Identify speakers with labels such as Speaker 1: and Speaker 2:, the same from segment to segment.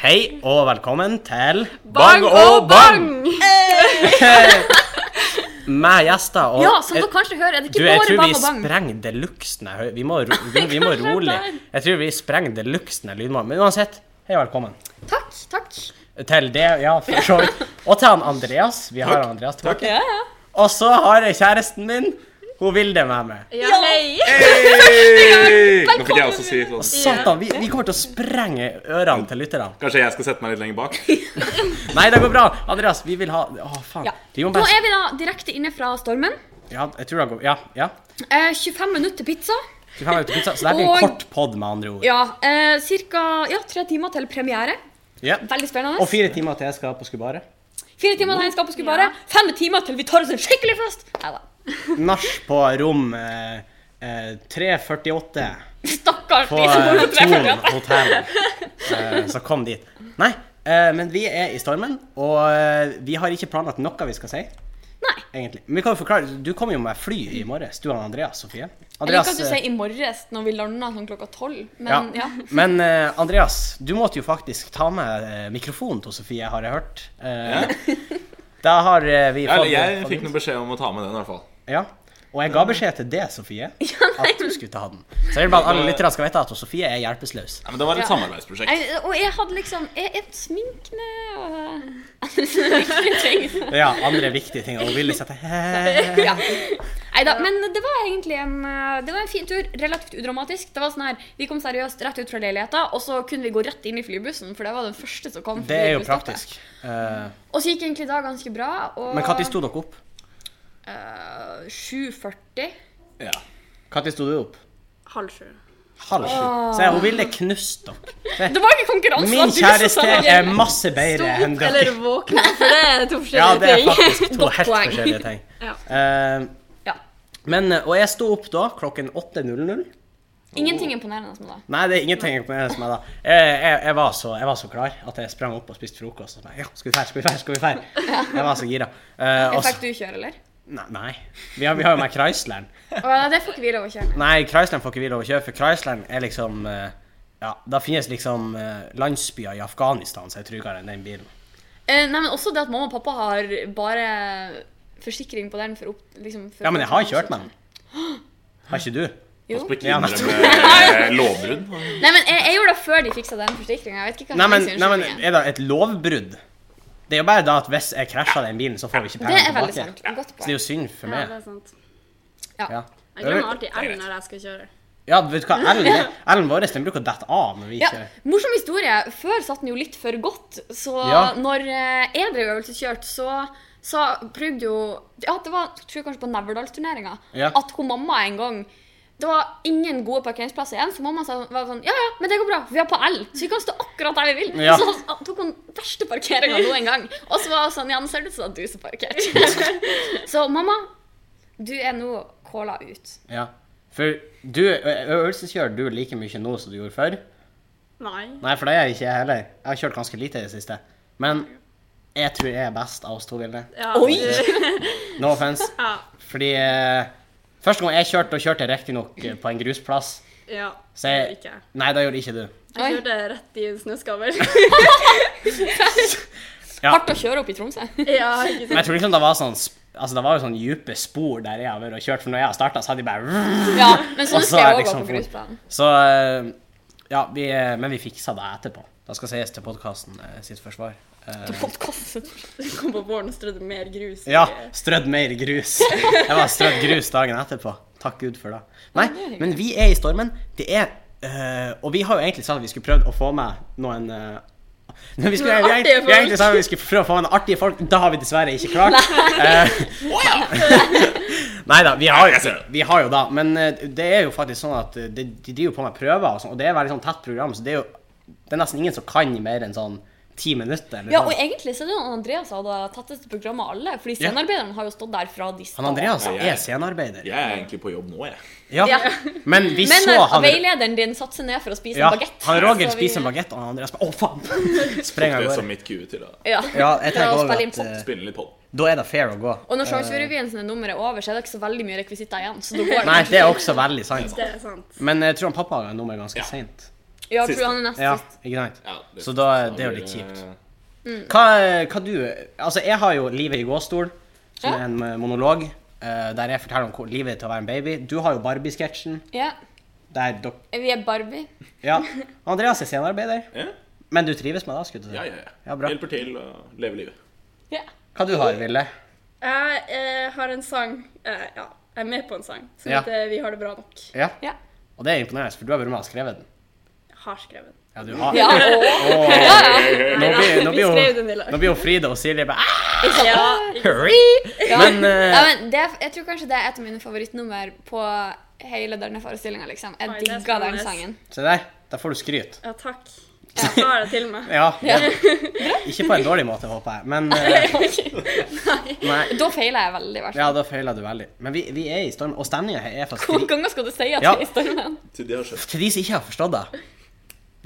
Speaker 1: Hei og velkommen til
Speaker 2: Bang og bang!
Speaker 1: Med gjester og
Speaker 2: Ja, som dere kanskje hører, er det
Speaker 1: Du,
Speaker 2: ikke
Speaker 1: jeg
Speaker 2: bare
Speaker 1: tror vi
Speaker 2: bang og bang.
Speaker 1: sprenger de luxe når jeg hører Vi må, ro, vi, vi må
Speaker 2: Kanskje det er
Speaker 1: rolig
Speaker 2: der.
Speaker 1: Jeg tror vi sprenger de luxe når lydmannen Men uansett, hei og velkommen
Speaker 2: Takk, takk.
Speaker 1: til det, ja, for så vidt. Og til han Andreas. Vi har han Andreas tilbake.
Speaker 2: Ja, ja.
Speaker 1: Og så har jeg kjæresten min. Hun vil det med meg.
Speaker 2: Ja, hei.
Speaker 3: Hey! Nå fikk jeg også si sånn.
Speaker 1: Satan, vi, vi kommer til å sprenge ørene til lytterne.
Speaker 3: Kanskje jeg skal sette meg litt lenger bak?
Speaker 1: Nei, det går bra. Andreas, vi vil ha Å, faen.
Speaker 2: Ja.
Speaker 1: Vi må
Speaker 2: Da
Speaker 1: bare
Speaker 2: er vi da direkte inne fra stormen.
Speaker 1: Ja, jeg tror det går Ja. ja.
Speaker 2: Eh, 25 minutter til pizza.
Speaker 1: 25 minutter pizza. Så det blir en
Speaker 2: Og-
Speaker 1: kort pod, med andre ord.
Speaker 2: Ja, eh, cirka ja, tre timer til premiere.
Speaker 1: Ja.
Speaker 2: Veldig
Speaker 1: Og
Speaker 2: spennende.
Speaker 1: fire timer til jeg skal på Skubaret.
Speaker 2: Fire timer til Henskapet skulle bare. Fem timer til vi tar oss en skikkelig fest. Neida.
Speaker 1: Nach på rom eh, eh, 348
Speaker 2: Stakkars
Speaker 1: på
Speaker 2: de som bor
Speaker 1: eh,
Speaker 2: på
Speaker 1: Thon
Speaker 2: 348.
Speaker 1: hotell. Eh, så kom dit. Nei, eh, men vi er i stormen, og eh, vi har ikke planlagt noe vi skal si.
Speaker 2: Nei.
Speaker 1: egentlig. Men vi kan jo forklare, du kom jo med fly i morges, du og Andreas, Sofie.
Speaker 2: Jeg liker
Speaker 1: Andreas,
Speaker 2: at du sier i morges når vi lander sånn klokka tolv.
Speaker 1: ja.
Speaker 2: Men ja.
Speaker 1: Men eh, Andreas, du måtte jo faktisk ta med eh, mikrofonen til Sofie, har jeg hørt. Eh, Da har eh, vi
Speaker 3: Jeg,
Speaker 1: fått
Speaker 3: jeg
Speaker 1: fått-
Speaker 3: fikk noen beskjed om å ta med den, i hvert fall.
Speaker 1: Ja. Og jeg ga beskjed til det, Sofie, at du skulle ta den. Så jeg vil bare at alle lytterne skal vite at Sofie er hjelpeløs.
Speaker 3: Nei, men det var et
Speaker 2: Ja.
Speaker 3: samarbeidsprosjekt.
Speaker 2: Jeg, og jeg hadde liksom Jeg er sminkende og andre sånne viktige ting.
Speaker 1: Ja, andre viktige ting. Og hun ville sette
Speaker 2: Eh, ja. Neida, men det var egentlig en, eh, det var en fin tur. Relativt udramatisk. Det var sånn her, Vi kom seriøst rett ut fra leiligheta, og så kunne vi gå rett inn i flybussen. For det var den første som kom.
Speaker 1: Det er jo
Speaker 2: forbi busstoppet.
Speaker 1: praktisk. Eh,
Speaker 2: Og så gikk egentlig da ganske bra. Og,
Speaker 1: men når sto dere opp?
Speaker 2: Eh, 7.40.
Speaker 3: Ja.
Speaker 1: Når sto du opp?
Speaker 4: Halv sju.
Speaker 1: Halv sju. Så jeg, hun ville knust dere.
Speaker 2: Det var ikke konkurranse!
Speaker 1: Min kjæreste er masse
Speaker 4: Stå
Speaker 1: bedre enn
Speaker 4: opp eller
Speaker 1: dere.
Speaker 4: våkne, for det er to
Speaker 1: Ja,
Speaker 4: forskjellige
Speaker 1: det er
Speaker 4: ting.
Speaker 1: faktisk to
Speaker 2: Godt
Speaker 1: helt
Speaker 2: poeng.
Speaker 1: forskjellige ting.
Speaker 4: Ja.
Speaker 1: Eh,
Speaker 2: Ja.
Speaker 1: men, eh, og jeg sto opp da klokken 8.00.
Speaker 2: Ingenting imponerende som da.
Speaker 1: Nei, det er ingenting imponerende som meg, da. Jeg, Eh, jeg, jeg, var så, jeg var så klar at jeg sprang opp og spiste frokost. Og så, bare, ja, skal vi fær, skal vi fær, skal vi fær? Jeg var så gira. Eh, og så-
Speaker 2: Fikk du kjøre, eller?
Speaker 1: nei, nei. Vi har, vi har jo med Chrysleren.
Speaker 2: Og det får ikke vi lov å kjøre.
Speaker 1: Nei, Chrysleren får ikke vi lov å kjøre, for Chrysleren er liksom eh, Ja, da finnes liksom eh, landsbyer i Afghanistan som er tryggere enn den bilen.
Speaker 2: Eh, nei, men også det at mamma og pappa har bare forsikring på den for opp... Liksom, for
Speaker 1: Ja, men jeg har kjørt med den. Har ikke du?
Speaker 2: Jo.
Speaker 3: På
Speaker 1: Ja,
Speaker 3: kvinner med lovbrudd.
Speaker 2: Nei, men jeg, jeg gjorde det før de fiksa den forsikringa. Jeg vet ikke hva
Speaker 1: Nei, men,
Speaker 2: hennes
Speaker 1: nei, men
Speaker 2: unnskyldning er.
Speaker 1: er det et lovbrudd? Det er jo bare da at hvis jeg krasjer den bilen, så får vi ikke
Speaker 2: Det er
Speaker 1: pengene
Speaker 2: veldig
Speaker 1: tilbake.
Speaker 2: sant. Godt
Speaker 1: Så det er
Speaker 2: poeng.
Speaker 1: jo synd for
Speaker 4: Ja, det
Speaker 1: meg.
Speaker 4: er sant.
Speaker 1: Ja.
Speaker 4: Jeg glemmer alltid L når jeg skal kjøre.
Speaker 1: Ja, vet du hva, Ellen, Ellen vår den bruker å dette av når vi
Speaker 2: Ja,
Speaker 1: kjører.
Speaker 2: morsom historie. Før satt den jo litt for godt, så
Speaker 1: Ja.
Speaker 2: når eh, jeg drev øvelseskjørt, så så prøvde jo Ja, det var jeg tror kanskje på Neverdalsturneringa
Speaker 1: Ja.
Speaker 2: at hun mamma en gang det var ingen gode parkeringsplasser igjen, så mamma sa, var sånn Ja, ja, men det går bra. Vi er på L, så vi kan stå akkurat der vi vil.
Speaker 1: Ja.
Speaker 2: Så tok hun verste parkeringa nå en gang. Og så var hun sånn Ja, nå ser det ut som det er du som parkerte. så mamma, du er nå calla ut.
Speaker 1: Ja. For du, ø- øvelseskjører du like mye nå som du gjorde før?
Speaker 4: Nei.
Speaker 1: Nei, for det er jeg ikke jeg heller. Jeg har kjørt ganske lite i det siste. Men jeg tror jeg er best av oss to, Vilde.
Speaker 4: Ja,
Speaker 2: Oi!
Speaker 4: du-
Speaker 1: No offense.
Speaker 4: Ja.
Speaker 1: Fordi eh, første gang jeg kjørte, da kjørte jeg riktignok på en grusplass.
Speaker 4: ja.
Speaker 1: Så
Speaker 4: Jeg,
Speaker 1: jeg,
Speaker 4: ikke.
Speaker 1: nei, da gjorde ikke du.
Speaker 4: jeg kjørte rett i en snøskavl.
Speaker 1: Ja.
Speaker 2: Hardt å kjøre opp i Tromsø.
Speaker 4: ja, ikke
Speaker 1: Men
Speaker 4: sant.
Speaker 1: jeg tror liksom det var sånn sp- Altså, det var jo sånn dype spor der jeg har vært og kjørt, for når jeg har starta, så hadde de bare
Speaker 2: Ja, men så
Speaker 1: Og så
Speaker 2: husker
Speaker 1: er
Speaker 2: jeg òg
Speaker 1: liksom
Speaker 2: var på
Speaker 1: for-
Speaker 2: grusbanen.
Speaker 1: Så eh, Ja, vi, eh, men vi fiksa det etterpå. Det skal sies til podkasten sitt forsvar. Eh,
Speaker 4: Du kom på våren og strødde mer grus.
Speaker 1: ja, strødd mer grus. Jeg var strødd grus dagen etterpå. Takk Gud for det. Nei, men vi er i stormen. Det er eh, Og vi har jo egentlig sagt at vi skulle prøvd å få med noen eh, men vi, skulle, vi,
Speaker 4: Noen
Speaker 1: vi,
Speaker 4: artige
Speaker 1: vi, egentlig sa at vi skulle prøve å få med noen artige folk. Da har vi dessverre ikke klart. Nei da, vi har,
Speaker 3: Nei, jeg
Speaker 1: jo, altså,
Speaker 3: ser det.
Speaker 1: vi har jo da. Men eh, det er jo faktisk sånn at eh, de, de driver jo på med prøver, og, sånn, og det er veldig sånn tett program, så det er jo det er nesten ingen som kan mer enn sånn ti minutter. Eller
Speaker 2: Ja, og
Speaker 1: sånn.
Speaker 2: egentlig så er det jo Andreas som hadde tatt dette programmet av alle. Fordi
Speaker 1: Ja.
Speaker 2: scenearbeideren har jo stått der fra de
Speaker 1: Han Andreas
Speaker 3: Ja, jeg-
Speaker 1: er scenearbeider.
Speaker 3: Jeg er egentlig på jobb nå, jeg.
Speaker 1: Ja. Men vi
Speaker 2: Men
Speaker 1: så
Speaker 2: eh,
Speaker 1: han
Speaker 2: veilederen din satte seg ned for å spise
Speaker 1: ja,
Speaker 2: en bagett.
Speaker 1: han Roger
Speaker 2: Så vi-
Speaker 1: spiser en bagett, og han Andreas bare Å, faen! Sprenger av
Speaker 3: Det er som
Speaker 1: gårde.
Speaker 3: mitt kue til å
Speaker 2: Ja.
Speaker 1: Ja, jeg
Speaker 2: For å
Speaker 1: tenker også
Speaker 2: spille
Speaker 1: Eh.
Speaker 2: inn
Speaker 1: at eh,
Speaker 3: spille litt på.
Speaker 1: da er det fair å gå.
Speaker 2: Og når Sjangsjørevyen sine nummer er over, så er det ikke så veldig mye rekvisitter igjen. Så da går det
Speaker 1: Nei, det er også veldig sant.
Speaker 4: Det er sant.
Speaker 1: Men jeg tror han pappa har nummer ganske
Speaker 3: Ja.
Speaker 1: sent seint.
Speaker 2: Ja, jeg
Speaker 3: Siste.
Speaker 2: tror han er nest
Speaker 1: Ja,
Speaker 2: sist.
Speaker 1: ikke sant?
Speaker 3: Ja, det- Mm.
Speaker 1: Så da- det er jo litt kjipt. Hva, hva du Altså, jeg har jo Livet i gåstol, som
Speaker 2: Ja.
Speaker 1: er en eh, monolog, eh, der jeg forteller om hvor livet er til å være en baby. Du har jo Barbie-sketsjen,
Speaker 2: Ja.
Speaker 1: der dok...
Speaker 2: Vi er Barbie.
Speaker 1: Ja. Andreas er scenearbeider.
Speaker 3: eh, Ja,
Speaker 1: Men du trives med det? skulle du si?
Speaker 3: ja, ja.
Speaker 1: Ja, bra.
Speaker 3: Hjelper til å leve livet.
Speaker 2: Ja.
Speaker 1: Hva du har Ville?
Speaker 4: Jeg eh, har en sang eh, Ja, jeg er med på en sang som
Speaker 1: Ja.
Speaker 4: heter 'Vi har det bra nok'.
Speaker 1: Ja.
Speaker 2: Ja.
Speaker 1: Og det er imponerende, for du har vært med og skrevet den.
Speaker 4: Jeg har skrevet den.
Speaker 1: Ja, du har.
Speaker 2: ja. og-
Speaker 1: Åh, nå,
Speaker 4: Nei,
Speaker 1: blir,
Speaker 4: da,
Speaker 1: nå,
Speaker 4: vi
Speaker 1: blir
Speaker 4: skrev den i
Speaker 1: jo,
Speaker 4: lag.
Speaker 1: nå blir jo Frida og Silje bare "Ah,
Speaker 4: Ja,
Speaker 1: hurry!
Speaker 2: Ja.
Speaker 1: Men, eh,
Speaker 2: ja, men det, er- jeg tror kanskje det er et av mine favorittnummer på hele denne forestillinga, liksom. Jeg
Speaker 4: Oi, det er
Speaker 2: digga den
Speaker 4: spennende.
Speaker 2: sangen.
Speaker 1: Se der, der får du skryt.
Speaker 4: ja takk. Jeg tar det til meg.
Speaker 1: Ja. Ikke på en dårlig måte, håper jeg, men eh, Nei.
Speaker 2: Da feiler jeg veldig, i hvert fall.
Speaker 1: Ja, da feila du veldig. Men vi, vi er i storm, og stemninga her er faktisk
Speaker 2: Hvor mange ganger skal du si at
Speaker 1: Ja.
Speaker 2: vi er i stormen?
Speaker 3: Til de har skjønt.
Speaker 1: Til de som ikke har forstått det,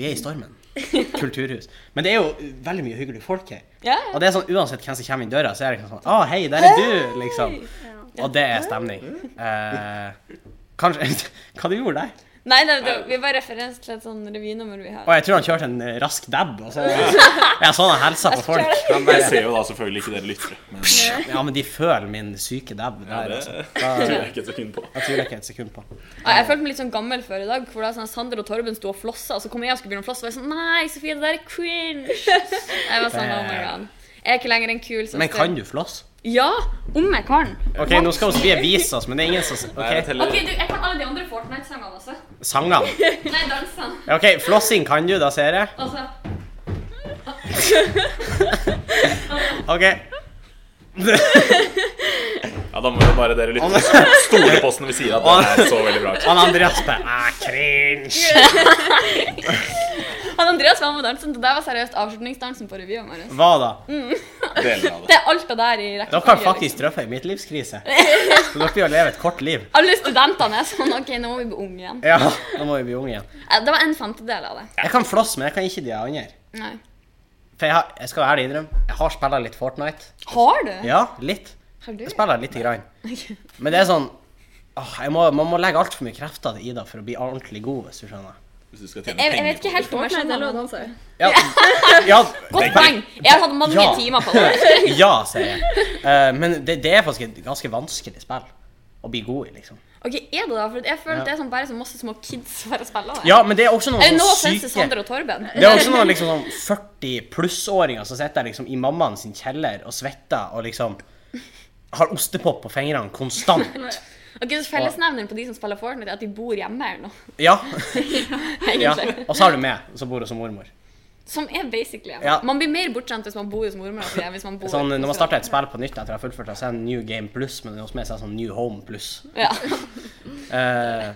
Speaker 1: vi er i stormen. Kulturhus. Men det er jo veldig mye hyggelige folk her.
Speaker 2: Ja,
Speaker 1: Og det er sånn, uansett hvem som kommer inn døra, så er det liksom sånn Å, hei, der er du! Liksom. Og det er stemning. Eh, kanskje Hva du gjorde der?
Speaker 2: Nei, det, det, vi bare refererer til et sånn revynummer vi har.
Speaker 1: Og jeg tror han kjørte en eh, rask dab, og så Jeg så han helsa på folk. Han
Speaker 3: Jeg
Speaker 1: bare,
Speaker 3: ser jo da selvfølgelig ikke dere lyttere, men
Speaker 1: ja, men de føler min syke dab
Speaker 3: ja,
Speaker 1: der,
Speaker 3: det
Speaker 1: altså.
Speaker 3: tror jeg ikke et sekund på.
Speaker 1: Jeg tviler jeg ikke et sekund på.
Speaker 2: Ja, jeg følte meg litt sånn gammel før i dag, for da sånn, Sander og Torben sto og flossa, og så kom jeg og skulle begynne å flosse, og jeg sånn Nei, Sofie, det der er cringe. Jeg var sånn, oh my god. Jeg er ikke lenger en kul søster.
Speaker 1: Men kan du floss?
Speaker 2: Ja, om jeg kan.
Speaker 1: OK, nå skal vi vise oss, men det er ingen som
Speaker 3: Nei, jeg
Speaker 1: OK,
Speaker 3: teller-
Speaker 2: Ok, du, jeg kan alle de andre Fortnite-sangene også.
Speaker 1: sangene.
Speaker 2: Nei, dansene.
Speaker 1: Ja, OK, flossing kan du, da ser jeg.
Speaker 2: Altså.
Speaker 1: OK.
Speaker 3: Ja, da må jo bare dere lytte. Stole på oss når vi sier at det er så veldig bra.
Speaker 1: Han Andreas bare ah, cringe.
Speaker 2: Han Andreas var med dansen, og det var seriøst avslutningsdansen på revyen vår.
Speaker 1: Hva da?
Speaker 3: Deler av
Speaker 2: Det
Speaker 3: det.
Speaker 2: er alt det der i
Speaker 1: Dere
Speaker 2: rekkefølge.
Speaker 1: har
Speaker 2: liksom.
Speaker 1: faktisk trøffet ei midtlivskrise. Så dere vil leve et kort liv.
Speaker 2: Alle studentene er sånn OK, nå må vi bli unge igjen.
Speaker 1: Ja, nå må vi bli unge igjen.
Speaker 2: Eh, Det var en femtedel av det.
Speaker 1: Jeg kan floss, men jeg kan ikke de andre.
Speaker 2: Nei.
Speaker 1: For jeg, har, jeg skal ærlig innrømme, jeg har spilla litt Fortnite.
Speaker 2: Har du?
Speaker 1: Ja, litt.
Speaker 2: Har du?
Speaker 1: Jeg spiller lite grann. Men det er sånn åh, jeg må, Man må legge altfor mye krefter i det for å bli ordentlig god, hvis du skjønner.
Speaker 3: Hvis du skal tjene
Speaker 2: Jeg, jeg vet
Speaker 3: penger
Speaker 2: ikke
Speaker 3: på det.
Speaker 2: helt om jeg
Speaker 4: Fortnite er
Speaker 2: skjønner
Speaker 4: lov
Speaker 2: det.
Speaker 4: å danse.
Speaker 1: Ja, ja,
Speaker 2: Godt poeng! Jeg har hatt mange
Speaker 1: Ja.
Speaker 2: timer på det.
Speaker 1: ja sier jeg. Eh, men det, det er faktisk et ganske vanskelig spill å bli god i, liksom.
Speaker 2: Ok, Er det da? For jeg føler at det er sånn bare så masse små kids som bare spiller det.
Speaker 1: Ja, men det er også noen
Speaker 2: Er det nå
Speaker 1: sånn
Speaker 2: offense
Speaker 1: syke
Speaker 2: Sander og Torben?
Speaker 1: Det er også noen liksom sånn 40 plussåringer som sitter liksom i mammaen sin kjeller og svetter og liksom har ostepop på fingrene konstant.
Speaker 2: Ok, så Fellesnevneren på de som spiller Fortnite, er at de bor hjemme eller noe.
Speaker 1: Ja. ja.
Speaker 2: egentlig.
Speaker 1: Og så har du meg, som bor hos mormor.
Speaker 2: Som er basically hjemme.
Speaker 1: Ja.
Speaker 2: Man blir mer bortskjemt hvis man bor hos mormor. enn Hvis man bor
Speaker 1: Sånn, når man starter et spill på nytt etter å ha fullført, det, så er det New Game Plus, men hos meg så er det sånn New Home Plus.
Speaker 2: Ja.
Speaker 1: Eh,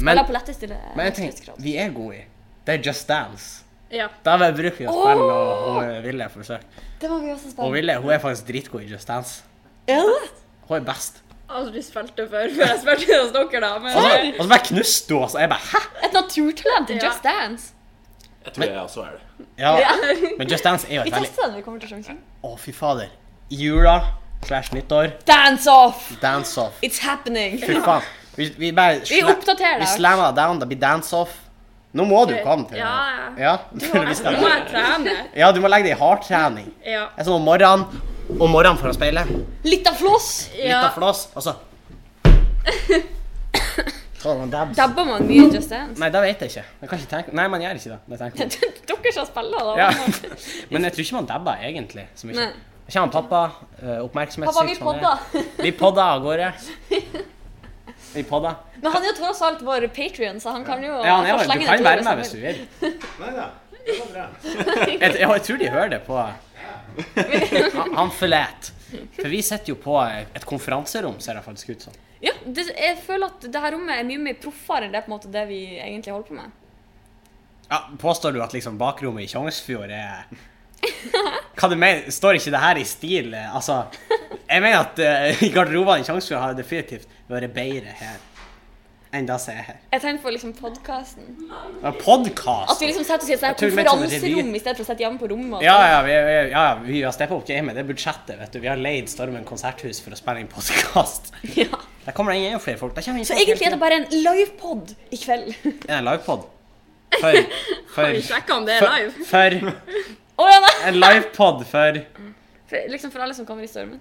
Speaker 1: men,
Speaker 2: Eller på letteste
Speaker 1: men jeg tenker, vi er gode i Det er Just Dance.
Speaker 4: Ja.
Speaker 1: Da vil jeg bruke å spille, og hun eh, Ville forsøker.
Speaker 2: Det må vi også
Speaker 1: Og
Speaker 2: spille.
Speaker 1: Ville hun er faktisk dritgod i Just Dance. Hun er best.
Speaker 4: Aldri spilt det før, før jeg spilte hos dere, da. Men
Speaker 1: Og så,
Speaker 4: eh,
Speaker 1: og så bare knuste hun, og så jeg bare Hæ?
Speaker 2: Et naturtalent til
Speaker 4: Ja.
Speaker 2: Just Dance.
Speaker 3: Jeg tror jeg også er det.
Speaker 1: Ja, men Just Dance er jo
Speaker 2: Vi
Speaker 1: et veldig
Speaker 2: tester den. vi kommer til sjansen.
Speaker 1: Å, fy fader. Jula slash nyttår.
Speaker 2: Dance off!
Speaker 1: Dance-off.
Speaker 2: It's happening!
Speaker 1: Fy faen. Vi, vi bare
Speaker 2: Vi oppdaterer
Speaker 1: Vi
Speaker 2: deg.
Speaker 1: slammer det down. Det blir dance-off. Nå må du komme til
Speaker 4: Ja,
Speaker 1: det. Ja. for vi
Speaker 4: nå
Speaker 1: skal-
Speaker 4: må jeg trene.
Speaker 1: ja, du må legge deg i hardtrening.
Speaker 4: Ja.
Speaker 1: Det er sånn om morgenen, om morgenen foran speilet,
Speaker 2: Litt av floss!
Speaker 1: litt
Speaker 4: ja.
Speaker 1: av flås, og så Sånn, og dabs.
Speaker 2: Dabber man mye i Just Dance?
Speaker 1: Nei, det vet jeg ikke. Jeg kan ikke tenke. Nei, man gjør ikke det. det tenker jeg.
Speaker 2: Dere som spiller, da.
Speaker 1: Ja. Men jeg tror ikke man dabber egentlig så mye.
Speaker 2: Nei.
Speaker 1: Jeg kjenner pappa, eh, oppmerksomhetssyk
Speaker 2: Pappa, vi
Speaker 1: som han er.
Speaker 2: podder.
Speaker 1: Vi podda av gårde. Vi podda.
Speaker 2: Men han er jo tross alt vår patrion, så han kan jo
Speaker 1: Ja, han er,
Speaker 2: få
Speaker 1: jo- du
Speaker 2: slenge det
Speaker 1: kan
Speaker 2: til
Speaker 1: være
Speaker 2: hvis han
Speaker 1: med hvis du vil.
Speaker 3: Nei da. Det var bra.
Speaker 1: Jeg, jeg, jeg tror de hører det på Han, han forlater. For vi sitter jo på et konferanserom, ser det faktisk ut som.
Speaker 2: Ja, det, jeg føler at det her rommet er mye mer proffere enn det på en måte det vi egentlig holder på med.
Speaker 1: Ja, påstår du at liksom bakrommet i Tjongsfjord er Hva du mener? Står ikke det her i stil eh, Altså, jeg mener at eh, garderobene i Tjongsfjord har definitivt vært bedre her enn det som er her.
Speaker 2: Jeg tenker på liksom podkasten. At
Speaker 1: Podkast!
Speaker 2: vi liksom setter oss i et sånt her
Speaker 1: Jeg tror mer sånn revy.
Speaker 2: konferanserom i stedet for å sitte hjemme på rommet. og
Speaker 1: Ja,
Speaker 2: sånn.
Speaker 1: ja, vi, vi- ja, ja, vi har steppa opp gamet. Det er budsjettet, vet du. Vi har leid Stormen konserthus for å spille inn podkast.
Speaker 2: sånn. Ja.
Speaker 1: Der kommer det inn enda flere folk. Der kommer inn
Speaker 2: Så
Speaker 1: folk hele
Speaker 2: egentlig er
Speaker 1: tiden.
Speaker 2: det bare en livepod i kveld.
Speaker 1: Er det livepod? For,
Speaker 4: Har vi
Speaker 1: for,
Speaker 4: sjekka om det er
Speaker 1: for,
Speaker 4: live?
Speaker 1: for
Speaker 2: Å ja, nei!
Speaker 1: en livepod for
Speaker 2: For, liksom for alle som kommer i stormen.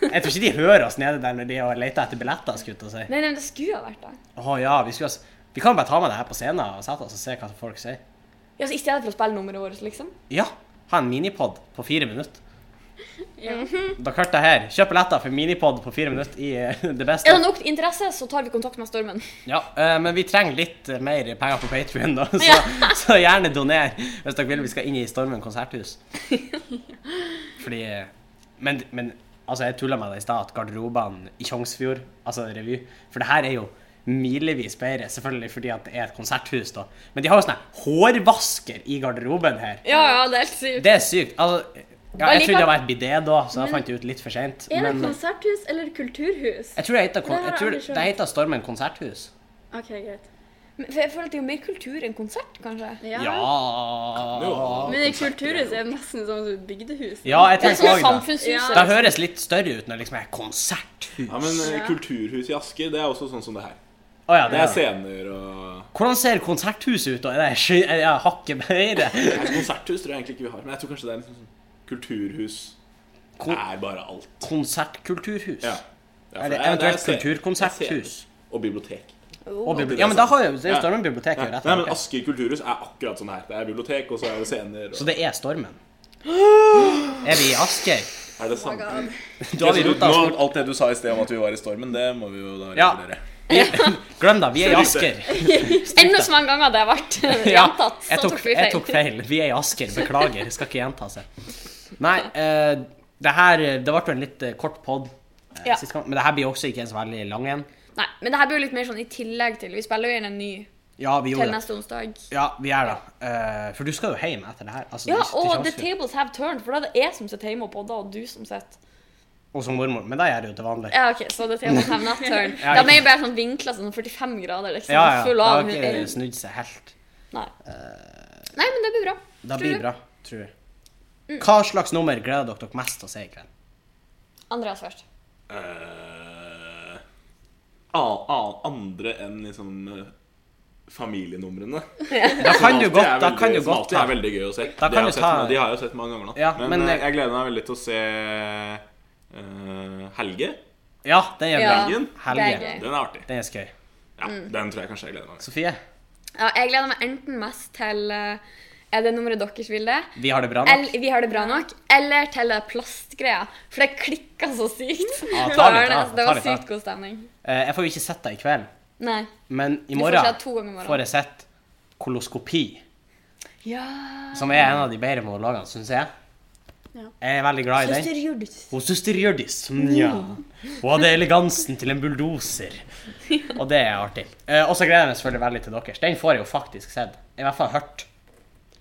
Speaker 1: Jeg tror ikke de hører oss nede der når de har leter etter billetter. skulle jeg til å si.
Speaker 2: Nei, nei, men det skulle ha vært det.
Speaker 1: Å ja, vi, skulle, ha s- vi kan jo bare ta med det her på scenen og sette oss og se hva folk sier.
Speaker 2: Ja, så I stedet for å spille nummeret vårt, liksom.
Speaker 1: Ja, ha en minipod på fire minutter.
Speaker 4: Ja.
Speaker 1: Dere hørte det her. Kjøp billetter for minipod på fire minutter i eh, det beste.
Speaker 2: Er det nok interesse, så tar vi kontakt med Stormen.
Speaker 1: Ja, eh, men vi trenger litt eh, mer penger på Patrion, da. Så, så gjerne doner hvis dere vil vi skal inn i Stormen konserthus. Fordi eh, Men, men altså, jeg tulla med det i stad, at garderobene i Tjongsfjord, altså revy For det her er jo milevis bedre, selvfølgelig fordi at det er et konserthus, da. Men de har jo sånn her hårvasker i garderoben her.
Speaker 2: Ja, ja, det er helt sykt.
Speaker 1: Det er sykt. Altså, ja, jeg
Speaker 2: Allikevel-
Speaker 1: trodde det var et bidé da, så jeg fant jeg ut litt for seint.
Speaker 4: Er det
Speaker 1: Men jeg
Speaker 4: konserthus eller kulturhus?
Speaker 1: tror det heter, kon-
Speaker 4: Det har jeg
Speaker 1: jeg tror,
Speaker 4: aldri skjønt.
Speaker 1: det heter Stormen konserthus.
Speaker 4: OK, greit.
Speaker 2: Men For jeg føler at det er jo mer kultur enn konsert, kanskje.
Speaker 4: Ja.
Speaker 1: Ja
Speaker 4: Men i kulturhus er det nesten som et bygdehus.
Speaker 1: Ja, jeg
Speaker 2: Det er
Speaker 1: tenker
Speaker 2: som
Speaker 1: også det.
Speaker 2: samfunnshuset.
Speaker 1: Det høres litt større ut når det liksom er konserthus.
Speaker 3: Ja, men eh,
Speaker 4: Ja.
Speaker 3: kulturhus i Asker, det er også sånn som det her.
Speaker 1: Å ja,
Speaker 3: Det er
Speaker 1: det er.
Speaker 3: scener og
Speaker 1: Hvordan ser konserthuset ut, da? Er det sky- er det hakket bedre?
Speaker 3: Altså, Konserthus tror jeg egentlig ikke vi har, men jeg tror kanskje det er liksom sånn kulturhus Det
Speaker 1: Kon
Speaker 3: er bare alt.
Speaker 1: konsertkulturhus?
Speaker 3: Ja. Ja, for
Speaker 1: Eller
Speaker 3: det er- det er
Speaker 1: eventuelt
Speaker 3: scener. Det er
Speaker 1: kulturkonserthus?
Speaker 3: scener. Og bibliotek.
Speaker 1: Og bibli- ja, men da har jo, det er jo
Speaker 3: Ja.
Speaker 1: Stormen bibliotek her, rett
Speaker 3: Nei, men
Speaker 1: bak.
Speaker 3: altså- Asker kulturhus er akkurat sånn her. Det er bibliotek, og så er det scener. Og...
Speaker 1: Så det er Stormen. Er vi i Asker?
Speaker 3: er det samme?
Speaker 1: Da har vi rota oss
Speaker 3: Nå, alt det du sa i sted om at vi var i stormen, det må vi jo da
Speaker 1: Ja.
Speaker 3: regulere.
Speaker 1: bort. Glem det, vi er i
Speaker 3: Sorry.
Speaker 1: Asker.
Speaker 2: Enda så mange ganger det har vært
Speaker 1: Ja,
Speaker 2: gjentatt, så
Speaker 1: jeg tok,
Speaker 2: tok vi
Speaker 1: jeg
Speaker 2: feil.
Speaker 1: tok feil. Vi er i Asker, beklager. Det skal ikke gjenta seg. Nei, eh, det her Det ble jo en litt eh, kort pod
Speaker 2: Ja.
Speaker 1: sist gang, men det her blir også ikke en så veldig lang en.
Speaker 2: Nei, men det her blir jo litt mer sånn i tillegg til. Vi spiller jo inn en ny
Speaker 1: Ja, vi
Speaker 2: til
Speaker 1: gjorde det.
Speaker 2: neste onsdag.
Speaker 1: Ja, vi gjør det. Eh, for du skal jo hjem etter det her. Altså,
Speaker 2: Ja,
Speaker 1: til- til
Speaker 2: og the
Speaker 1: Tjongsfjord.
Speaker 2: tables have turned, for da er det jeg som sitter hjemme og podder, og du som sitter
Speaker 1: Og som mormor. Men det gjør jeg jo til vanlig.
Speaker 2: Ja, OK, så the tables have not turned.
Speaker 1: Ja,
Speaker 2: De er jo bare sånn vinkla sånn 45 grader, liksom.
Speaker 1: Ja, ja.
Speaker 2: Full
Speaker 1: Det har
Speaker 2: av
Speaker 1: ikke snudd seg helt.
Speaker 2: Nei. Nei, men det Eh, blir bra.
Speaker 1: Det
Speaker 2: Tror
Speaker 1: blir
Speaker 2: du? Mm.
Speaker 1: bra, tror jeg. Hva slags nummer gleder dere dere mest til å se i kveld?
Speaker 2: Andreas først.
Speaker 3: Eh, an- an- andre enn liksom eh, familienumrene.
Speaker 1: Da kan du
Speaker 3: alltid
Speaker 1: godt,
Speaker 3: er
Speaker 1: da
Speaker 3: veldig-
Speaker 1: kan du
Speaker 3: som
Speaker 1: godt
Speaker 3: alltid
Speaker 1: ta
Speaker 3: er veldig gøy å se.
Speaker 1: Da kan
Speaker 3: De har
Speaker 1: du
Speaker 3: jeg sett,
Speaker 1: ta-
Speaker 3: de har jeg jo sett mange ganger nå.
Speaker 1: Ja,
Speaker 3: men
Speaker 1: men,
Speaker 3: eh,
Speaker 1: eh,
Speaker 3: jeg gleder meg veldig til å se eh, Helge.
Speaker 1: Ja, den er
Speaker 2: Ja,
Speaker 1: bra.
Speaker 3: Helgen?
Speaker 2: det er
Speaker 1: Helge.
Speaker 2: gøy.
Speaker 3: Den er artig.
Speaker 1: Den er skøy.
Speaker 3: Ja, Den tror jeg kanskje jeg gleder meg til.
Speaker 1: Sofie,
Speaker 2: Ja, jeg gleder meg enten mest til eh, Er det nummeret deres vil det?
Speaker 1: vi har det bra nå?
Speaker 2: Eller, vi har det bra nok. Eller til det plastgreia. For det klikka så sykt.
Speaker 1: Ja,
Speaker 2: Det
Speaker 1: ta
Speaker 2: var
Speaker 1: litt, da.
Speaker 2: nes- det
Speaker 1: Ta
Speaker 2: var
Speaker 1: litt, da.
Speaker 2: sykt god stemning.
Speaker 1: Eh, jeg får jo ikke sett deg i kveld,
Speaker 2: Nei.
Speaker 1: men i
Speaker 2: får
Speaker 1: morgen
Speaker 2: se to ganger i morgen.
Speaker 1: får jeg sett Koloskopi,
Speaker 2: Ja
Speaker 1: som er en av de bedre monologene, syns jeg.
Speaker 4: Ja.
Speaker 1: Jeg er veldig glad i den.
Speaker 2: Jordis.
Speaker 1: Og søster Hjørdis. Nja. Mm, Hun hadde elegansen til en bulldoser. Og det er artig. Eh, og så gleder jeg meg selvfølgelig veldig til deres. Den får jeg jo faktisk sett. I hvert fall hørt.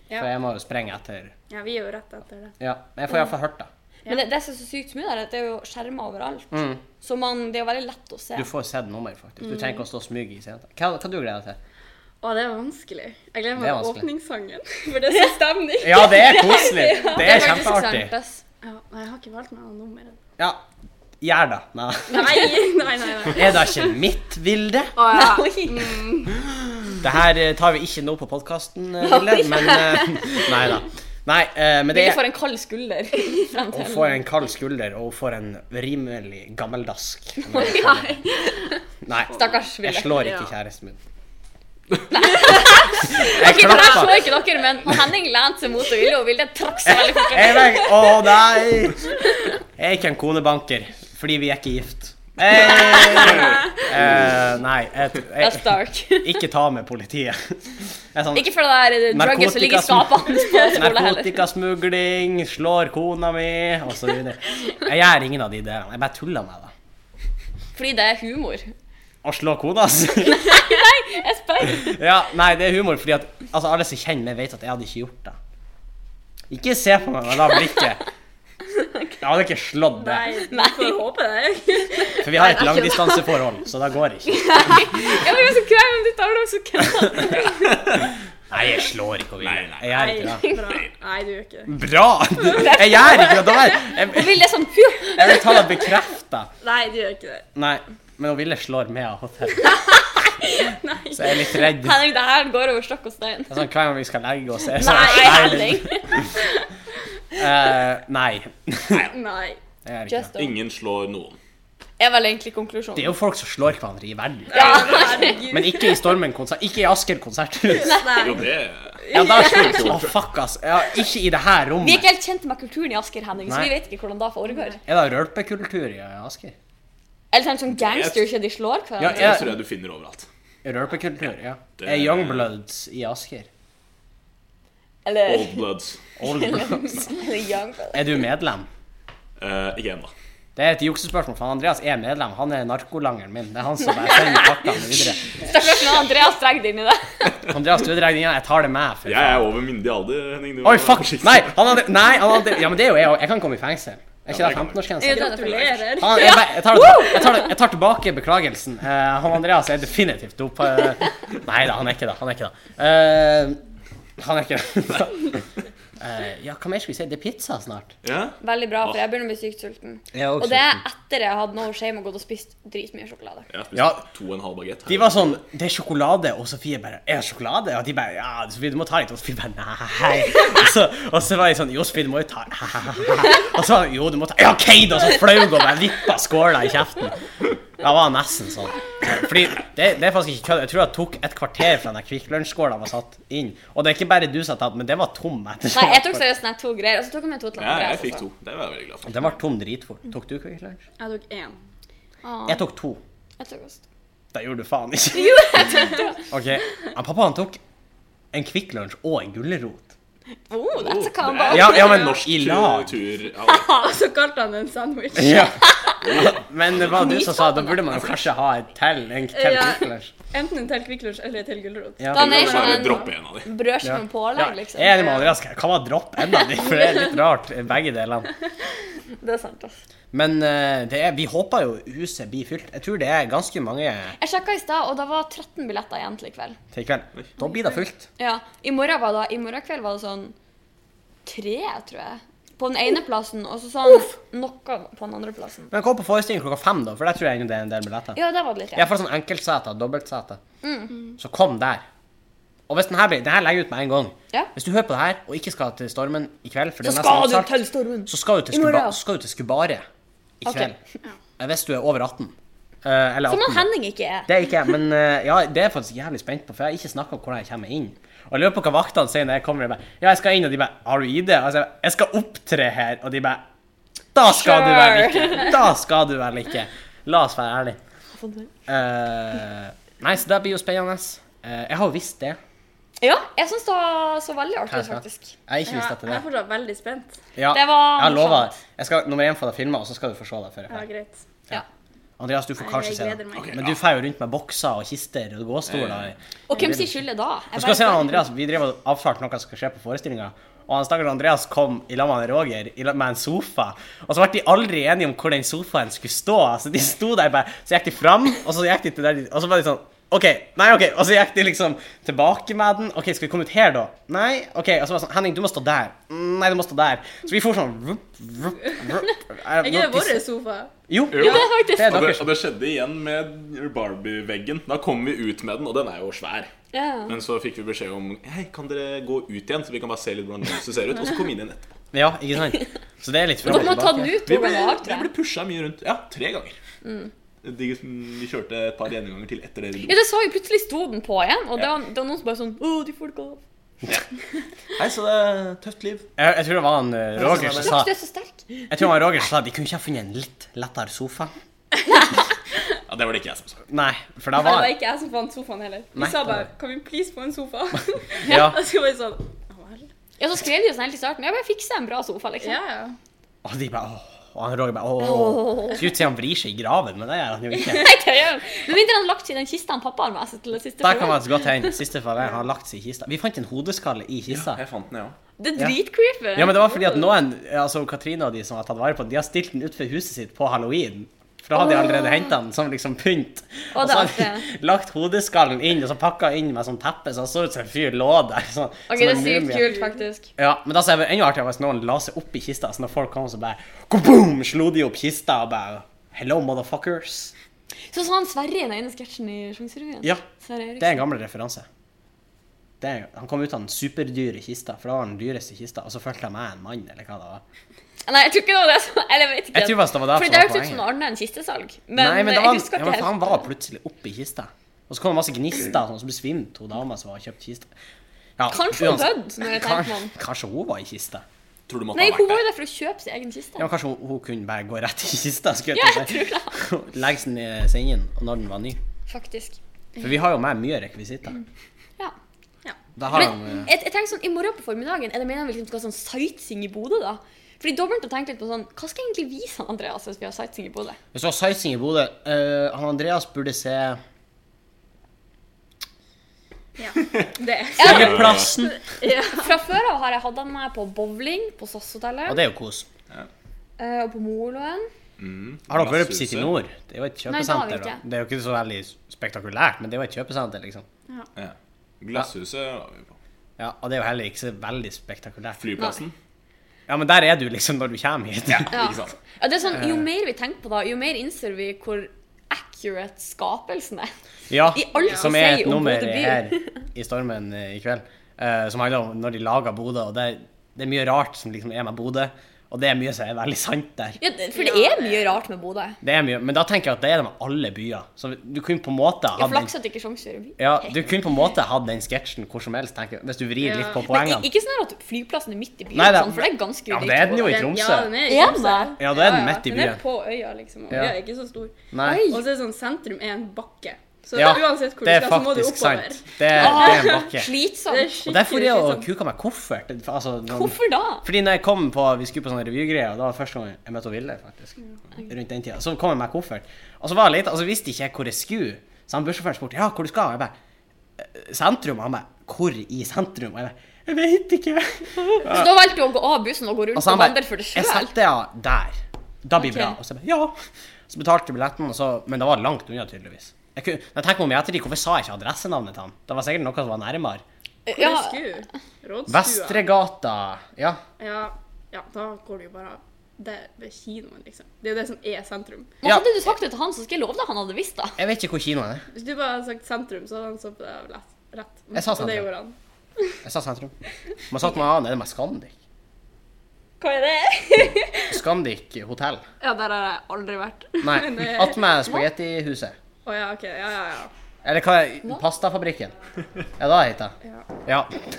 Speaker 4: Ja.
Speaker 1: For jeg må jo sprenge etter
Speaker 4: Ja, vi er jo rett etter det.
Speaker 1: Ja, men jeg får i hvert fall hørt, da.
Speaker 2: Men det, det som er så sykt mye, der, er at det er jo skjermer overalt.
Speaker 1: Mm.
Speaker 2: Så man, det er jo veldig lett å se.
Speaker 1: Du får sett nummer, faktisk. Du trenger ikke å stå og smyge i scenen. Hva, hva du gleder deg til?
Speaker 4: Å, det er vanskelig. Jeg gleder
Speaker 1: Det er
Speaker 4: meg til
Speaker 1: vanskelig.
Speaker 4: åpningssangen, for det er så stemning.
Speaker 1: Ja, det er koselig. Det er
Speaker 2: faktisk
Speaker 1: kjempeartig.
Speaker 2: sant, ass.
Speaker 4: Ja, nei, jeg har ikke valgt meg noe nummer. ennå.
Speaker 1: Ja. Gjør det. Nei.
Speaker 4: Nei, nei, nei. nei.
Speaker 1: Er det ikke mitt bilde?
Speaker 4: Å, ja.
Speaker 2: Oi.
Speaker 1: Det her eh, tar vi ikke nå på podkasten, Vilde, men eh, Nei da. Nei, eh, men det
Speaker 2: Ville
Speaker 1: er
Speaker 2: får en kald skulder.
Speaker 1: Hun
Speaker 2: frem til.
Speaker 1: får en kald skulder, og hun får en rimelig gammeldask.
Speaker 2: Nei,
Speaker 1: Nei,
Speaker 2: Stakkars
Speaker 1: jeg
Speaker 2: Ville.
Speaker 1: slår ikke
Speaker 4: Ja.
Speaker 1: kjæresten min. Jeg
Speaker 2: Ok, dere så
Speaker 1: klappa.
Speaker 2: ikke dere, men han Henning lente seg mot og Ville, og Ville trakk seg veldig fort.
Speaker 1: Jeg er Å nei! Jeg er ikke en konebanker, fordi vi er ikke gift. Hey! Eh, nei, jeg,
Speaker 2: That's
Speaker 1: jeg,
Speaker 2: dark.
Speaker 1: ikke ta med politiet. Jeg er sånn,
Speaker 2: Ikke for det der drugget som ligger i skapene på skolen heller.
Speaker 1: Narkotikasmugling, slår kona mi, osv. Jeg gjør ingen av de delene. Jeg bare tuller med det.
Speaker 2: Fordi det er humor.
Speaker 1: Å slå kona, altså.
Speaker 2: Jeg spør.
Speaker 1: Ja, nei, det er humor, fordi at altså, alle som kjenner meg, vet at jeg hadde ikke gjort det. Ikke se på meg med det blikket. Jeg hadde ikke slått det.
Speaker 4: Nei, du får håpe det.
Speaker 1: For vi har et langdistanseforhold, så det går ikke.
Speaker 2: Jeg blir så kveil om du tar det så kødda.
Speaker 1: Nei, jeg slår ikke
Speaker 3: Nei,
Speaker 1: William.
Speaker 3: nei.
Speaker 1: Jeg gjør ikke det.
Speaker 4: Nei, bra. Nei, du gjør ikke det.
Speaker 1: Bra! Jeg gjør ikke det. Da er-
Speaker 2: Og
Speaker 1: Jeg,
Speaker 2: Ville er sånn fju.
Speaker 1: jeg vil ta det bekrefta.
Speaker 4: Nei, du gjør ikke det.
Speaker 1: Nei, men hun ville slår meg av og til.
Speaker 4: Nei.
Speaker 1: Så jeg er litt redd. Det
Speaker 2: Henning, det her går over stokk og stein.
Speaker 1: er sånn, hver gang vi skal legge oss, er jeg sånn
Speaker 2: Nei, Henning.
Speaker 1: Eh, nei.
Speaker 4: Nei.
Speaker 1: Det er, ikke.
Speaker 2: Just
Speaker 1: det.
Speaker 2: don't.
Speaker 3: Ingen slår noen.
Speaker 2: Er vel egentlig
Speaker 1: det
Speaker 2: konklusjonen.
Speaker 1: er jo folk som slår hverandre i verden.
Speaker 4: Herregud.
Speaker 1: Men ikke i Stormen-konsert. Ikke i Asker-konserthus.
Speaker 3: Jo,
Speaker 4: Nei.
Speaker 3: det
Speaker 1: Ja, der slo det Å, fuck, ass. Ja, ikke i det her
Speaker 2: Vi er
Speaker 1: rommet.
Speaker 2: ikke helt kjent med kulturen i Asker, Henning, så
Speaker 1: Nei.
Speaker 2: vi vet ikke hvordan det foregår.
Speaker 1: Er det rølpekultur i Asker?
Speaker 2: Eller sånn sånn gangster ikke de slår
Speaker 1: Ja,
Speaker 2: hverandre.
Speaker 1: ja.
Speaker 3: det tror jeg du finner overalt.
Speaker 1: Rølpekultur, ja.
Speaker 3: Det-
Speaker 1: Er Youngbloods i Asker?
Speaker 2: Eller,
Speaker 3: Old Bloods.
Speaker 1: Old Bloods.
Speaker 2: eller young.
Speaker 1: Er du medlem?
Speaker 3: Eh, ikke ennå.
Speaker 1: Det er et juksespørsmål, for Andreas er medlem. Han er narkolangeren min. Det er han som bare sender pakkene videre.
Speaker 2: Stakkars når Andreas drar det inn i det.
Speaker 1: Andreas, du drar den igjen. Jeg tar det med. For.
Speaker 3: Jeg er over myndig alder, Henning. Du må
Speaker 1: Oi,
Speaker 3: være
Speaker 1: fuck!
Speaker 3: forsiktig.
Speaker 1: Nei, han hadde, nei han hadde, ja, men det er jo jeg òg. Jeg kan komme i fengsel. Er
Speaker 3: Ja,
Speaker 1: ikke det
Speaker 3: det kan du.
Speaker 1: 15-årsgrense?
Speaker 4: Gratulerer.
Speaker 1: Han, Ah, jeg, jeg, tar, det- jeg, tar, det- jeg tar tilbake beklagelsen. Eh, han Andreas er definitivt dopa. nei da, han er ikke det. Han er ikke det. Eh, han er ikke det. Eh, ja, hva mer skal vi si? Det er pizza snart.
Speaker 3: Ja?
Speaker 2: Veldig bra, for jeg begynner å bli sykt sulten. Og det er etter jeg hadde noe shame og gått og spist dritmye sjokolade.
Speaker 3: Jeg har spist
Speaker 1: Ja.
Speaker 3: to og en halv bagett.
Speaker 1: de var sånn Det er sjokolade, og Sofie bare Er det sjokolade? Og de bare Ja, Sofie, du må ta litt. Og Sofie bare Nei. Og så, og så var jeg sånn Jo, Sofie, du må jo ta Og så var jeg, Jo, du må ta Ja, OK, da! Så flau og bare vippa skåla i kjeften. Da var han nesten sånn. Fordi det, det er faktisk ikke kødd. Jeg tror det tok et kvarter fra den Kvikk Lunsj-skåla var satt inn. Og det er ikke bare du som har tatt, men den var tom etter
Speaker 2: Nei, jeg tok seriøst ned to greier, og så tok jeg med to til
Speaker 3: Ja, jeg
Speaker 2: Andreas.
Speaker 3: fikk
Speaker 2: også.
Speaker 3: to. Det var jeg veldig glad for.
Speaker 1: Den var tom dritfort. Tok du Kvikk Lunsj?
Speaker 4: Jeg tok én.
Speaker 2: Ah,
Speaker 1: Jeg tok to.
Speaker 2: jeg tok også.
Speaker 1: Det gjorde du faen ikke. OK. Ja, pappa han tok en Kvikk Lunsj og en gulrot.
Speaker 2: Oh, that's a combo.
Speaker 3: Det er
Speaker 1: Ja, ja, men
Speaker 3: norsk
Speaker 1: i lag.
Speaker 3: tur. Ja,
Speaker 4: Og så kalte han det en sandwich.
Speaker 1: Ja. Men det var du som sa da burde man jo kanskje ha et til. En til
Speaker 4: Ja.
Speaker 1: Kvikklunch.
Speaker 4: Enten en til Kvikk Lunsj eller til gulrot.
Speaker 1: Ja.
Speaker 2: Da er
Speaker 3: det
Speaker 2: jeg
Speaker 3: er bare
Speaker 2: sånn-
Speaker 3: droppe en av de.
Speaker 2: Brødskive
Speaker 1: Ja.
Speaker 2: med
Speaker 1: Ja,
Speaker 2: pålegg,
Speaker 1: jeg
Speaker 2: liksom.
Speaker 1: er enig med Andreas. Kan man droppe en av de? For det er litt rart, begge delene.
Speaker 2: Det er sant, ass.
Speaker 1: Men eh, det er, vi håper jo huset blir fylt. Jeg tror det er ganske mange
Speaker 2: Jeg sjekka i stad, og det var 13 billetter igjen til i kveld.
Speaker 1: til i kveld. Da blir det fullt.
Speaker 2: Ja, I morgen var det, i morgen kveld var det sånn tre, tror jeg. På den ene plassen, og så sånn noe på den andre plassen.
Speaker 1: Men kom på forestilling klokka fem, da, for der tror jeg ennå det er en del billetter.
Speaker 2: Ja, der var det litt, ja.
Speaker 1: Iallfall sånn enkeltseter, dobbeltseter.
Speaker 2: Mm.
Speaker 1: Så kom der. Og hvis den her blir Den her legger jeg ut med en gang.
Speaker 2: Ja.
Speaker 1: Hvis du hører på det her og ikke skal til Stormen i kveld for det
Speaker 2: Så
Speaker 1: er nesten
Speaker 2: skal du
Speaker 1: avtalt,
Speaker 2: til Stormen.
Speaker 1: Så skal du til,
Speaker 2: I morgen.
Speaker 1: skuba, skal du til Skubare i
Speaker 2: Ok.
Speaker 1: kveld. Hvis du er over 18. eh, eller
Speaker 2: Som
Speaker 1: 18.
Speaker 2: han Henning ikke er.
Speaker 1: Det er ikke jeg, men eh, ja, det er jeg faktisk jævlig spent på, for jeg har ikke snakka om hvordan jeg kommer inn. Og jeg lurer på hva vaktene sier når jeg kommer. Jeg bare, ja, jeg skal inn, og de bare Har du ID? Altså, jeg bare, jeg skal opptre her, og de bare Da skal du vel ikke! Da skal du vel ikke! La oss være ærlige. Eh, nei, så det blir jo spennende. Eh, jeg har jo visst det.
Speaker 2: Ja, jeg syns det var så veldig artig,
Speaker 1: Jeg har
Speaker 2: faktisk.
Speaker 1: ikke
Speaker 4: Ja,
Speaker 1: visst
Speaker 4: jeg
Speaker 1: etter det.
Speaker 4: er fortsatt veldig spent.
Speaker 1: Ja,
Speaker 2: Det var
Speaker 1: jeg har lova
Speaker 2: morsomt.
Speaker 1: det. Jeg skal nummer én få deg filma, og så skal du få se det før jeg
Speaker 4: Ja,
Speaker 1: drar.
Speaker 4: greit.
Speaker 2: Ja.
Speaker 1: Andreas, du får
Speaker 4: Nei,
Speaker 1: kanskje
Speaker 4: jeg
Speaker 1: se
Speaker 4: gleder
Speaker 1: det.
Speaker 4: meg.
Speaker 3: Ok,
Speaker 1: Men
Speaker 3: ja.
Speaker 1: du feier jo rundt med bokser og kister og gåstoler.
Speaker 2: Og hvem sier skyldet da? Jeg
Speaker 1: Du skal
Speaker 2: bare
Speaker 1: se
Speaker 2: spør.
Speaker 1: han Andreas, Vi drev og avtalte noe som skal skje på forestillinga. Og han stakkars Andreas kom i lag med han Roger i lag med en sofa. Og så ble de aldri enige om hvor den sofaen skulle stå. Så de sto der bare, så gikk de fram, og så gikk de til der de Og så var de sånn OK, nei, OK. Og så gikk de liksom tilbake med den. OK, skal vi komme ut her, da? Nei. OK. Og så var det sånn Henning, du må stå der. Mm, Nei, du må stå der. Så vi for sånn rup, rup, rup. Er
Speaker 4: Ikke det vår sofa?
Speaker 1: Jo,
Speaker 3: Jo.
Speaker 2: Det er faktisk
Speaker 1: det er
Speaker 3: Og det,
Speaker 1: deres.
Speaker 3: og det skjedde igjen med Barbie-veggen. Da kom vi ut med den, og den er jo svær.
Speaker 2: Ja.
Speaker 3: Men så fikk vi beskjed om Hei, kan dere gå ut igjen, så vi kan bare se litt hvordan huset ser ut. Og så kom vi inn igjen etterpå.
Speaker 1: Ja, ikke sant? Så det er litt fram
Speaker 2: Dere
Speaker 1: og
Speaker 2: må ta den
Speaker 1: tilbake.
Speaker 2: ut
Speaker 3: Vi
Speaker 2: to
Speaker 3: ble,
Speaker 2: ganger,
Speaker 3: vi
Speaker 2: tror
Speaker 3: ble
Speaker 2: jeg.
Speaker 3: pusha mye rundt. Ja, tre ganger.
Speaker 2: Mm.
Speaker 3: De, vi kjørte et par gjenganger til etter det.
Speaker 2: Ja, det så jo plutselig sto den på igjen, og det
Speaker 3: Ja.
Speaker 2: var, det var noen som bare sånn Å, de får det gå.
Speaker 3: Hei, så det er tøft liv.
Speaker 1: Jeg, jeg tror det var han eh, Roger som sa
Speaker 2: Du er så sterk.
Speaker 1: Jeg tror det var Roger som sa de kunne ikke ha funnet en litt lettere sofa.
Speaker 3: Ja, Det var det ikke jeg som sa.
Speaker 1: Nei, for da
Speaker 4: Nei, det
Speaker 1: var
Speaker 4: var ikke jeg som fant sofaen heller. Vi
Speaker 1: Nei,
Speaker 4: sa
Speaker 1: det var-
Speaker 4: bare 'Kan vi please få en sofa?'
Speaker 1: Ja.
Speaker 4: Og så var vi sånn Ja vel.
Speaker 2: Ja, så skrev de jo sånn helt i starten. Ja, bare fikse en bra sofa, liksom.
Speaker 4: Ja, ja.
Speaker 1: Og de bare åh. Og han Roger bare åh. Det Skulle ut som han vrir seg i graven, men det gjør han jo ikke.
Speaker 2: Nei, det gjør de. Med mindre han har lagt seg i den kista han pappa har med seg til det siste
Speaker 1: Der kan
Speaker 2: forhøret.
Speaker 1: man altså godt hende. Siste fall er han har lagt seg i kista. Vi fant en hodeskalle i kista.
Speaker 3: Jeg fant den, jeg òg.
Speaker 2: Det er dritcreepy.
Speaker 1: Ja, men det var fordi at noen, altså Katrine og de som har tatt vare på den, de har stilt den utenfor huset sitt på halloween. For da hadde de allerede hentet den som liksom pynt.
Speaker 2: Å,
Speaker 1: Og
Speaker 2: det
Speaker 1: så
Speaker 2: er
Speaker 1: hadde de lagt hodeskallen inn, og så pakka inn med sånn teppe, så det så ut som en fyr lå der. Sånn,
Speaker 2: Ok,
Speaker 1: som
Speaker 2: det er
Speaker 1: en
Speaker 2: sykt
Speaker 1: mumie.
Speaker 2: kult, faktisk.
Speaker 1: Ja, men da så er det enda artigere hvis noen la seg opp i kista, så når folk kom, så bare kaboom, slo de opp kista og bare Hello, motherfuckers.
Speaker 2: Sånn som han Sverre i den ene sketsjen i Sjanserevyen.
Speaker 1: Ja.
Speaker 2: Sverre
Speaker 1: Det er
Speaker 2: Eriksen.
Speaker 1: en gammel referanse. Det er, han kom ut av den superdyre kista, for det var den dyreste kista, og så følte jeg meg en mann, eller hva det var.
Speaker 2: Nei, jeg tror ikke det var det som Eller jeg vet ikke.
Speaker 1: Jeg tror faktisk det var det
Speaker 2: Fordi
Speaker 1: som
Speaker 2: det
Speaker 1: var
Speaker 2: høres ut som
Speaker 1: poenget.
Speaker 2: Arne en kistesalg. Men, eh,
Speaker 1: Nei, men det
Speaker 2: jeg
Speaker 1: var,
Speaker 2: husker
Speaker 1: ja,
Speaker 2: ikke
Speaker 1: men
Speaker 2: helt.
Speaker 1: han var plutselig oppi kista. Og så kom det masse gnister, sånn, så besvimte hun dama som hadde kjøpt kista. Ja,
Speaker 2: Kanskje hun
Speaker 1: uansett.
Speaker 2: døde, når jeg tenker meg
Speaker 1: Kanskje,
Speaker 2: om.
Speaker 1: kanskje hun var i kista.
Speaker 3: Tror du måtte
Speaker 2: Nei,
Speaker 3: ha
Speaker 2: hun
Speaker 3: vært
Speaker 2: var
Speaker 3: der?
Speaker 2: jo der for å kjøpe sin egen kiste.
Speaker 1: Ja, men kanskje hun, hun kunne bare gå rett i kista. skulle
Speaker 2: Ja, jeg
Speaker 1: til å si.
Speaker 2: tror det.
Speaker 1: Legge den i sengen og når den var ny.
Speaker 2: Faktisk.
Speaker 1: For vi har jo med mye rekvisitter.
Speaker 2: Ja.
Speaker 1: Da har han, eh,
Speaker 2: Men jeg, jeg tenker sånn, i morgen på formiddagen er det meningen vi liksom skal ha sånn sightseeing i Bodø, da? Fordi da begynte jeg å tenke litt på sånn Hva skal jeg egentlig vise han Andreas hvis vi har sightseeing i Bodø?
Speaker 1: eh, Hvis du har sightseeing i Bodø eh, Han Andreas burde se
Speaker 4: Ja, det er
Speaker 2: Ja,
Speaker 1: Plassen.
Speaker 4: ja.
Speaker 2: Fra før av har jeg hatt han med på bowling, på
Speaker 1: Og
Speaker 2: SAS-hotellet
Speaker 1: det er jo kos.
Speaker 2: eh, og på Moloen.
Speaker 1: Har dere vært på
Speaker 3: Glasshuset.
Speaker 1: City Nord? Det er jo et
Speaker 2: Nei, det har vi
Speaker 1: kjøpesenter. da.
Speaker 2: ikke.
Speaker 1: Det er jo ikke så veldig spektakulært, men det er jo et kjøpesenter, liksom.
Speaker 3: Ja. Glasshuset var vi på.
Speaker 1: Ja, Og det er jo heller ikke så veldig spektakulært.
Speaker 3: Flyplassen.
Speaker 1: Ja, men der er du liksom når du kommer hit.
Speaker 2: Ja.
Speaker 3: Ikke sant?
Speaker 2: Ja, det er sånn,
Speaker 1: Eh.
Speaker 2: jo mer vi tenker på det, jo mer innser vi hvor accurate skapelsen er.
Speaker 1: Ja,
Speaker 2: I alt
Speaker 1: som
Speaker 2: vi
Speaker 1: er
Speaker 2: sier
Speaker 1: et
Speaker 2: om
Speaker 1: nummer
Speaker 2: Bodø by.
Speaker 1: her i Stormen eh, i kveld, eh, som handler om når de lager Bodø. Og det, er- det er mye rart som liksom er med Bodø, og det er mye som er veldig sant der.
Speaker 2: Ja, det- for det er mye rart med Bodø.
Speaker 1: Det er mye, men da tenker jeg at det er det med alle byer. Så du kunne på en måte
Speaker 2: Ja,
Speaker 1: hatt den,
Speaker 2: Flaks at ikke Sjongsfjord er by.
Speaker 1: ja, du kunne på en måte hatt den sketsjen hvor som helst, tenker jeg, hvis du vrir
Speaker 4: Ja.
Speaker 1: litt på
Speaker 2: Men i-
Speaker 1: poengene.
Speaker 2: ikke sånn her at flyplassen er midt i byen,
Speaker 1: Nei, det-
Speaker 2: sånn, for det er ganske
Speaker 1: Ja,
Speaker 2: unikt
Speaker 1: det er den
Speaker 2: i
Speaker 1: jo
Speaker 2: Bodø.
Speaker 1: i
Speaker 4: Den-
Speaker 1: Tromsø.
Speaker 4: Ja, den er i
Speaker 2: Er
Speaker 4: Tromsø.
Speaker 2: den
Speaker 1: Ja, da er den midt i
Speaker 4: Den
Speaker 1: byen.
Speaker 4: er på øya, liksom. Og
Speaker 1: Ja.
Speaker 4: øya er ikke så stor.
Speaker 1: Nei.
Speaker 2: Oi.
Speaker 4: Og så er det sånn sentrum er en bakke. Så
Speaker 1: Ja,
Speaker 4: uansett hvor du
Speaker 1: det er
Speaker 4: skal, så må du
Speaker 1: faktisk
Speaker 4: oppover.
Speaker 1: sant. Det er, det er en bakke.
Speaker 4: Det er
Speaker 2: Ah, Slitsomt.
Speaker 1: Og
Speaker 4: skikkelig sånn
Speaker 1: derfor er jeg og
Speaker 4: slitsomt.
Speaker 1: kuka meg koffert. Altså, noen,
Speaker 2: Hvorfor da?
Speaker 1: Fordi når jeg kom på, vi skulle på sånne revygreier, og det var første gang jeg møtte Ville, faktisk. Rundt den tida. Så kom jeg med koffert. Og så var jeg litt, altså visste ikke jeg hvor jeg skulle. Så han bussjåføren spurte ja, hvor du skal. Jeg bare «Eh, sentrum. Han bare hvor i sentrum? Og jeg bare jeg vet ikke.
Speaker 2: Så da valgte du å gå av bussen og gå rundt
Speaker 1: Og
Speaker 2: og,
Speaker 1: så Altså, han
Speaker 2: vandre for
Speaker 1: bare
Speaker 2: deg
Speaker 1: jeg
Speaker 2: sjøl?
Speaker 1: setter ja der. Da blir
Speaker 2: Ok.
Speaker 1: det bra. Og så jeg bare ja. Så betalte jeg billetten, og så, men det var langt unna, tydeligvis. Jeg kunne, når jeg tenker meg om i ettertid, hvorfor sa jeg ikke adressenavnet til han? Det var sikkert noe som var nærmere.
Speaker 4: Hvor
Speaker 2: Ja,
Speaker 4: er sku? Rådstua.
Speaker 1: Vestregata. Ja.
Speaker 4: Ja, ja, da går du jo bare av. Det er ved kinoen, liksom. Det er jo det som er sentrum.
Speaker 2: men
Speaker 1: Ja.
Speaker 2: Hadde du sagt det til han, så skal jeg love deg han hadde visst det.
Speaker 1: Jeg vet ikke hvor kinoen er.
Speaker 4: Hvis du bare hadde sagt sentrum, så hadde han stått der og lett. Rett.
Speaker 1: Jeg sa
Speaker 4: Og det
Speaker 1: sentrum.
Speaker 4: gjorde han.
Speaker 1: Jeg sa sentrum. Man satt med annen, er det med Scandic?
Speaker 4: Hva er det?
Speaker 1: Scandic hotell.
Speaker 4: ja, der har jeg aldri vært.
Speaker 1: Nei,
Speaker 4: Men det-
Speaker 2: eh,
Speaker 4: Å
Speaker 1: attmed spagettihuset.
Speaker 4: ja, OK. Ja, ja, ja.
Speaker 1: Eller hva er Pastafabrikken. Ja, da heter det.
Speaker 4: Ja.
Speaker 1: Ja.
Speaker 4: Jeg vet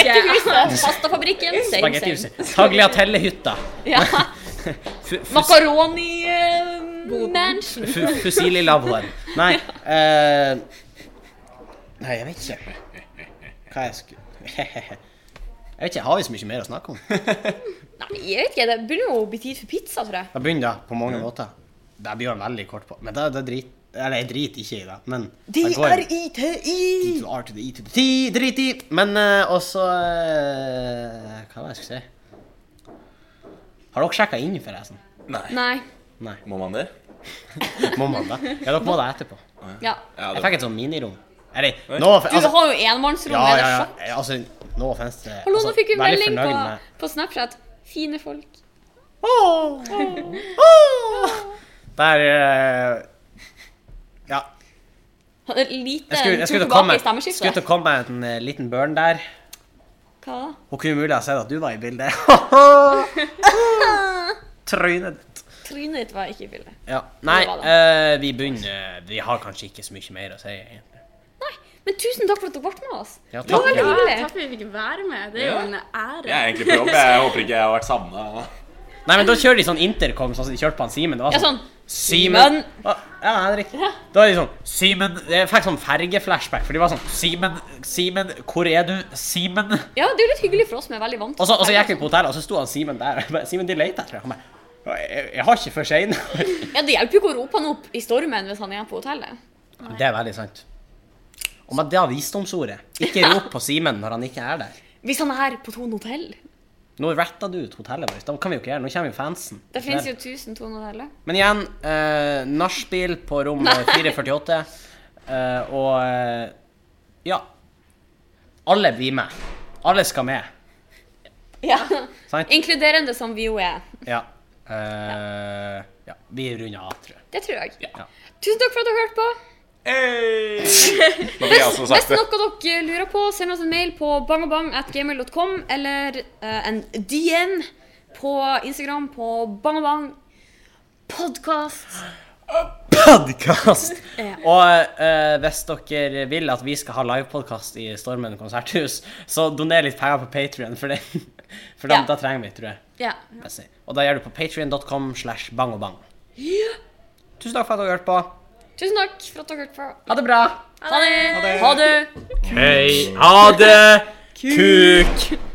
Speaker 4: ikke.
Speaker 2: Spagettihuset, pastafabrikken, same, same.
Speaker 1: Spagettihuset. Tagliatellehytta.
Speaker 2: Ja.
Speaker 1: Fu- fus-
Speaker 2: eh, Makaroni-mansion.
Speaker 1: fu- Fusililabben. Nei eh, Nei, jeg vet ikke. Hva jeg skulle Jeg vet ikke, Har vi så mye mer å snakke om?
Speaker 2: Nei, jeg vet ikke, det begynner jo å bli tid for pizza, tror jeg.
Speaker 1: Da begynner det på mange måter. Det blir jo veldig kort på. Men det, det drit... Eller jeg driter ikke i det, men det går-
Speaker 2: D-R-I-T-I!
Speaker 1: to R to the E to the T, drit i. Men eh, også eh, Hva var det jeg skulle si? Har dere sjekka inn, forresten?
Speaker 3: Nei.
Speaker 2: Nei.
Speaker 1: Nei.
Speaker 3: Må man det?
Speaker 1: Må man det? Ja, dere må det etterpå.
Speaker 2: Ja.
Speaker 3: Ja,
Speaker 1: Jeg
Speaker 3: det
Speaker 1: fikk et sånt minirom. Eller,
Speaker 3: Oi.
Speaker 1: nå
Speaker 2: Du har jo enmannsrom.
Speaker 1: Altså- ja,
Speaker 2: er det
Speaker 1: ja,
Speaker 2: sjokk?
Speaker 1: ja, altså, nå fins det
Speaker 2: Hallo,
Speaker 1: altså,
Speaker 2: nå fikk vi
Speaker 1: veldig
Speaker 2: melding
Speaker 1: fornøyd
Speaker 2: på,
Speaker 1: med-
Speaker 2: på Snapchat. Fine folk.
Speaker 1: Der eh, Ja.
Speaker 2: Han er Lite
Speaker 1: Jeg skulle, jeg
Speaker 2: tur
Speaker 1: skulle, til å
Speaker 2: tilbake
Speaker 1: komme, skulle
Speaker 2: i
Speaker 1: til
Speaker 2: stemmeskiftet.
Speaker 1: å komme med en eh, liten burn der.
Speaker 2: Hva da?
Speaker 1: Hun kunne mulig ha sett at du var i bildet. Trynet ditt.
Speaker 2: Trynet ditt var ikke i bildet.
Speaker 1: Ja. Nei,
Speaker 2: Det var
Speaker 1: eh, vi begynner Vi har kanskje ikke så mye mer å si, egentlig.
Speaker 2: Nei, men tusen takk for at dere ble med oss.
Speaker 1: Ja,
Speaker 2: Det
Speaker 1: takk.
Speaker 2: var veldig
Speaker 4: Ja,
Speaker 2: hyggelig.
Speaker 4: takk for at vi fikk være med. Det er jo
Speaker 3: Ja.
Speaker 4: en ære.
Speaker 3: Jeg er egentlig på jobb. Jeg håper ikke jeg har vært savna.
Speaker 1: Nei, men da kjører de sånn intercom, sånn som de kjørte på han Simen. Det var
Speaker 2: Ja,
Speaker 1: sånn
Speaker 2: sånn.
Speaker 1: Simen
Speaker 2: Simen.
Speaker 1: Å, Ja, Henrik. Da er de sånn Simen Jeg fikk sånn fergeflashback, for de var sånn Simen, Simen, hvor er du? Simen.
Speaker 2: Ja, det er jo litt hyggelig for oss som er veldig vant
Speaker 1: Og så, og så gikk vi på hotellet, og så sto han Simen der. og jeg bare, Simen, de leter etter deg. Han bare «Jeg- jeg, jeg har ikke for seinere.
Speaker 2: Ja, Det hjelper jo ikke å rope han opp i stormen hvis han er på hotellet.
Speaker 1: Det er veldig sant. Og med det visdomsordet, ikke rop på Simen når han ikke er der.
Speaker 2: Hvis han er her på Tone hotell.
Speaker 1: Nå retta du ut hotellet vårt. Da kan vi jo ikke gjøre det. Nå kommer jo fansen.
Speaker 2: Det finnes jo 1000 Tone hoteller.
Speaker 1: Men igjen, eh, nachspiel på rom 448. Eh, og eh, ja. Alle blir med. Alle skal med.
Speaker 2: Ja.
Speaker 1: Sant?
Speaker 2: Inkluderende som vi jo er.
Speaker 1: Ja. Eh, Ja, vi runder av, tror jeg.
Speaker 2: Det tror jeg.
Speaker 1: Ja.
Speaker 2: Tusen takk for at dere hørte på.
Speaker 3: Nå blir jeg altså
Speaker 2: Hvis
Speaker 3: sagt det.
Speaker 2: noe dere lurer på, send oss en mail på bangabang.gmail.com eller eh, en DM på Instagram på bangabang podcast.
Speaker 1: Podkast!
Speaker 2: Ja.
Speaker 1: Og eh, hvis dere vil at vi skal ha livepodkast i Stormen konserthus, så doner litt penger på Patrion, for, det- for da,
Speaker 2: Ja.
Speaker 1: da trenger vi tror jeg.
Speaker 2: Ja.
Speaker 1: jeg sier. Og da gjør du på patrion.com slash bangobang. Tusen takk for at dere hørte på.
Speaker 2: Tusen takk for at dere hørte på.
Speaker 1: Ha det bra!
Speaker 2: Ha det! Ha det.
Speaker 3: Hei, ha det, kuk!